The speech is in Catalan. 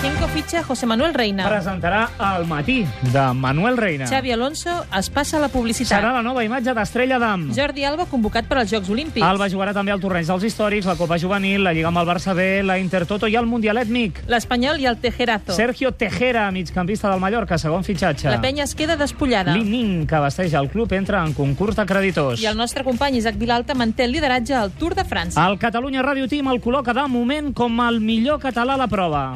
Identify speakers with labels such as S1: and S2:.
S1: Flamenco fitxa José Manuel Reina.
S2: Presentarà el matí de Manuel Reina.
S1: Xavi Alonso es passa a la publicitat.
S2: Serà la nova imatge d'Estrella d'Am.
S1: Jordi Alba convocat per als Jocs Olímpics.
S2: Alba jugarà també al Torrents dels Històrics, la Copa Juvenil, la Lliga amb el Barça B, la Intertoto i el Mundialet Mic.
S1: L'Espanyol i el Tejerazo.
S2: Sergio Tejera, migcampista del Mallorca, segon fitxatge.
S1: La penya es queda despullada.
S2: L'Inin, que vesteix el club, entra en concurs de creditors.
S1: I el nostre company Isaac Vilalta manté el lideratge al Tour de França.
S2: El Catalunya Ràdio Team el col·loca de moment com el millor català a la prova.